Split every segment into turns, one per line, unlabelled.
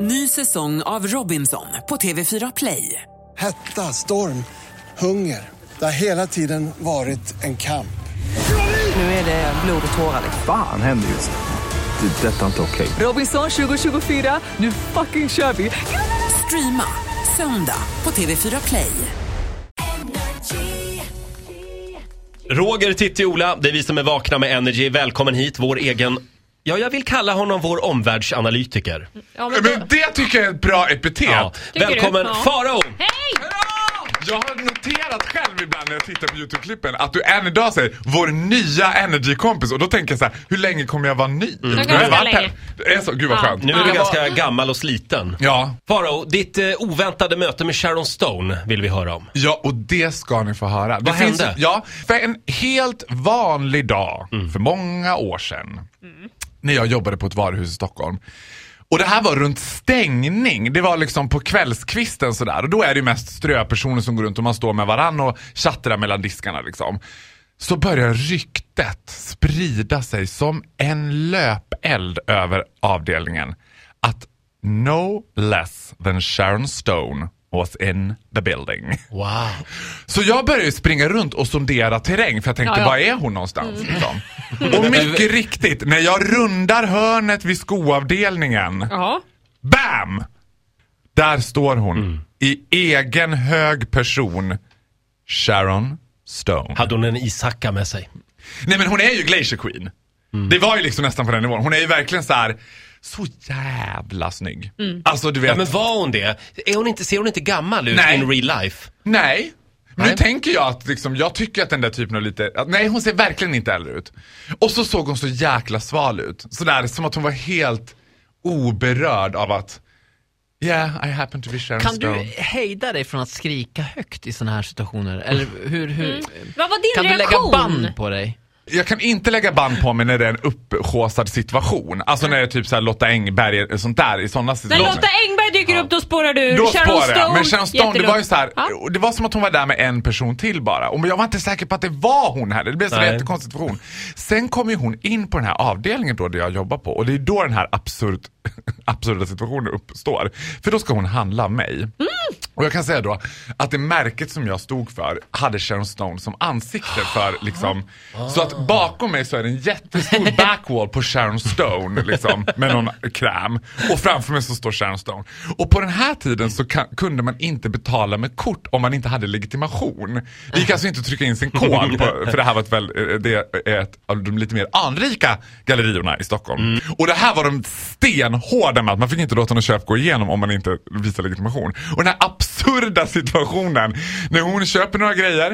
Ny säsong av Robinson på TV4 Play.
Hetta, storm, hunger. Det har hela tiden varit en kamp.
Nu är det blod och tårar.
Fan händer just nu. Det. är Detta är inte okej.
Robinson 2024, nu fucking kör vi! Streama söndag på TV4 Play.
Roger, Titti, Ola, det är vi som är vakna med Energy. Välkommen hit, vår egen... Ja, jag vill kalla honom vår omvärldsanalytiker.
Ja, men då,
Men det tycker jag är ett bra epitet.
Ja.
Tycker du?
Välkommen
Ja.
Farao!
hej!
Jag har noterat själv ibland när jag tittar på YouTube-klippen att du än idag säger vår nya energikompis och då tänker jag så här, hur länge kommer jag vara ny? Mm.
ganska länge.
Det är så, gud vad
Ja.
skönt.
Nu är du
Ja.
ganska gammal och sliten.
Ja,
Farao, ditt eh, oväntade möte med Sharon Stone vill vi höra om.
ja, och det ska ni få höra. Det
Vad hände? Mm.
Ja, för en helt vanlig dag för många år sedan när jag jobbade på ett varuhus i Stockholm. Och det här var runt stängning. Det var liksom på kvällskvisten sådär. Och då är det ju mest ströpersoner som går runt och man står med varann och tjattrar mellan diskarna liksom. Så börjar ryktet sprida sig som en löpeld över avdelningen. Att no less than Sharon Stone was in the building.
Wow.
Så jag började ju springa runt och sondera terräng för jag tänkte,
Ja, Mm. ja.
var är hon någonstans? Liksom. Och mycket riktigt, när jag rundar hörnet vid skoavdelningen,
Ja.
BAM! Där står hon
Mm.
i egen hög person, Sharon Stone.
Hade hon en ishacka med sig?
Nej men hon är ju Glacier Queen.
Mm.
Det var ju liksom nästan på den nivån. Hon är ju verkligen så här. så jävla snygg. Alltså du vet.
Mm. Ja, men var hon det? Är hon inte, ser hon inte gammal ut
Nej.
in real life?
Nej. Men
Nej.
nu tänker jag att liksom, jag tycker att den där typen av lite, att, nej hon ser verkligen inte äldre ut. Och så såg hon så jäkla sval ut. Sådär som att hon var helt oberörd av att, yeah I happen to be Sharon
Kan du
Stone.
hejda dig från att skrika högt i sådana här situationer? Eller hur, hur,
Mm. Vad var din
kan du lägga
reaktion?
band på dig?
Jag kan inte lägga band på mig när det är en upphaussad situation. Alltså när det är typ såhär Lotta Engberg och sånt där i sådana
När
situationer.
Lotta Engberg dyker upp då spårar du ur.
Då
Sharon
spårar jag.
Stone,
Men Sharon Stone, det var ju
jättelugnt.
så här,
Ja.
och det var som att hon var där med en person till bara. Och jag var inte säker på att det var hon heller. Det blev så
Nej.
en jättekonstig situation. Sen kom ju hon in på den här avdelningen då där jag jobbar på. Och det är då den här absurd, absurda situationen uppstår. För då ska hon handla mig.
Mm.
Och jag kan säga då att det märket som jag stod för hade Sharon Stone som ansikte för liksom. Så att bakom mig så är det en jättestor backwall på Sharon Stone liksom med någon kräm. Och framför mig så står Sharon Stone. Och på den här tiden så kan, kunde man inte betala med kort om man inte hade legitimation. Det gick alltså inte att trycka in sin kod på, för det här var ett, väl, eh, det är ett av de lite mer anrika gallerierna i Stockholm. Och det här var de stenhårda med att man fick inte låta något köp gå igenom om man inte visar legitimation. Och den här absurda situationen när hon köper några grejer,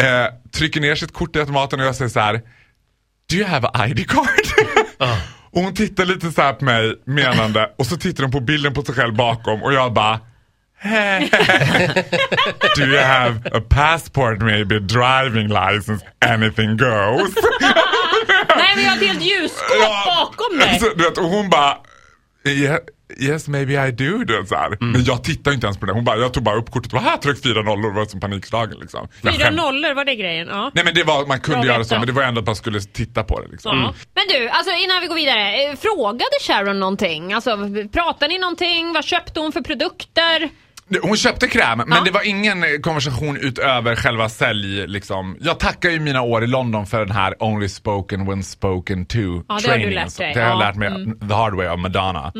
eh, trycker ner sitt kort i automaten och jag säger så här. Do you have a ID card? Och hon tittar lite så här på mig menande och så tittar hon på bilden på sig själv bakom och jag bara Do you have a passport maybe, driving license, anything goes?
Nej men jag hade helt ljusskåp bakom mig.
Alltså, du vet, och hon bara, "Yeah, yes maybe I do. Du vet, så här. Men jag tittar ju inte ens på det. Hon bara, jag tog bara upp kortet och bara, här tryck fyra nollor. Det var som panikslagen liksom. Jag
Fyra
skämt-
nollor var det grejen. Ja.
Nej men det var, man kunde
Bra
göra
veta.
så, men det var ändå att man skulle titta på det liksom.
Ja. Men du, alltså innan vi går vidare. eh, Frågade Sharon någonting? Alltså, pratade ni någonting? Vad köpte hon för produkter?
Det- Hon köpte kräm, men
Ja.
det var ingen eh, konversation utöver själva sälj. Liksom. Jag tackar ju mina år i London för den här Only spoken when spoken to
har du
trainingen.
lärt dig.
Det har jag
Ja. Mm.
lärt mig the hard way av Madonna.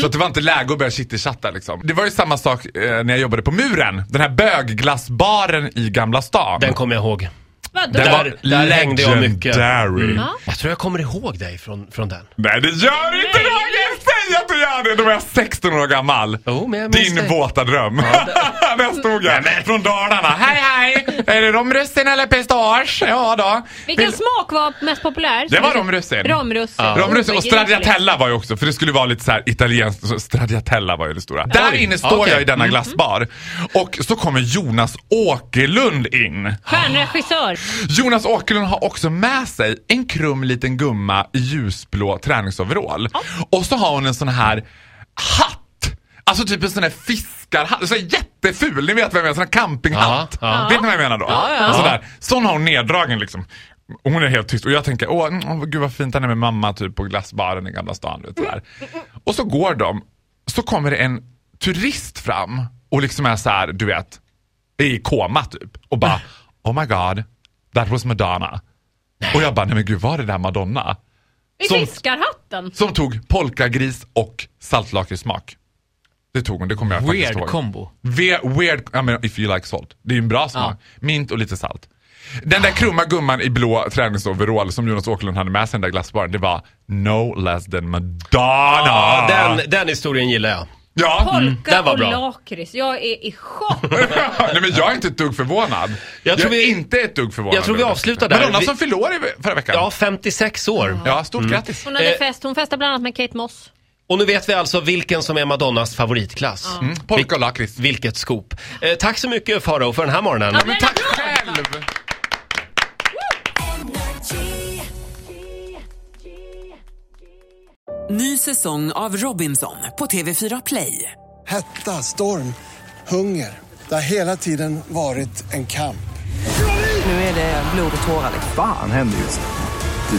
Så att det var inte läge att börja chitterchatta liksom. Det var ju samma sak eh, när jag jobbade på Muren. Den här bögglassbaren i Gamla stan.
Den kommer jag ihåg.
Vadå?
Den var- där hängde jag mycket. Mm.
legendary.
Jag tror jag kommer ihåg dig från, från den.
Nej det gör du inte
Nej.
Roger! Säg att du gör det! Då var jag 16 år gammal.
Jo, men jag minns
Din
det.
våta dröm. Där stod jag. Från Dalarna. Hej hej! Är det romrussin eller pistage? Ja då.
Vilken
Vill-
smak var mest populär?
Det var romrussin.
Romrussin.
Romrussin och
Obegripligt.
stradiatella var ju också, för det skulle vara lite så här italienskt. så Stradiatella var ju det stora. Där
Oj,
inne står
okej. Mm.
jag i denna glassbar och så kommer Jonas Åkerlund in.
Stjärnregissör.
Jonas Åkerlund har också med sig en krum liten gumma i ljusblå träningsoverall. Och så har hon en sån här hatt. Alltså typ en sån här fiskarhatt. Så här jätteful, ni vet vem jag menar. Sån här campinghatt.
Ja,
Vet ni vad jag menar då?
ja.
Sån, där. sån har hon neddragen liksom. Och hon är helt tyst och jag tänker, åh mm, åh, gud vad fint han är med mamma typ på glassbaren i Gamla stan. du Vet, sådär. Och så går de. så kommer det en turist fram och liksom är så här, du vet, i koma typ. Och bara, oh my god, that was Madonna. Och jag bara, nej men gud var det där Madonna?
I
Som- Mm,
fiskarhatten.
Som tog polkagris och saltlakritssmak. Det tog hon, det kommer jag faktiskt
Weird
ihåg.
combo.
Ve- weird, I mean, if you like salt. Det är ju en bra smak. Mint och lite salt. Den där krumma gumman i blå träningsoverall som Jonas Åkerlund hade med sig i den där glassbaren, det var no less than Madonna!
Ja, den, den historien gillar jag.
Ja. Mm.
den
Polka
var
och
bra.
lakrits. Jag är i chock.
Nej men jag är inte ett dugg förvånad.
Jag tror
är
vi-
inte ett dugg förvånad.
jag tror vi
över det.
avslutar där.
Madonna
Vi-
som fyllde år i förra veckan.
Ja, 56 år.
Ja, stort grattis.
Hon hade
Eh.
fest. Hon festade bland annat med Kate Moss.
Och nu vet vi alltså vilken som är Madonnas favoritklass.
Mm. Polka och lakrits.
Vilket scoop. Eh, tack så mycket Faro för den här morgonen.
Ja, men
Tack själv!
Ny säsong av Robinson på TV4 Play.
Hetta, storm, hunger. Det har hela tiden varit en kamp.
Nu är det blod och tårar. liksom.
Fan händer just nu.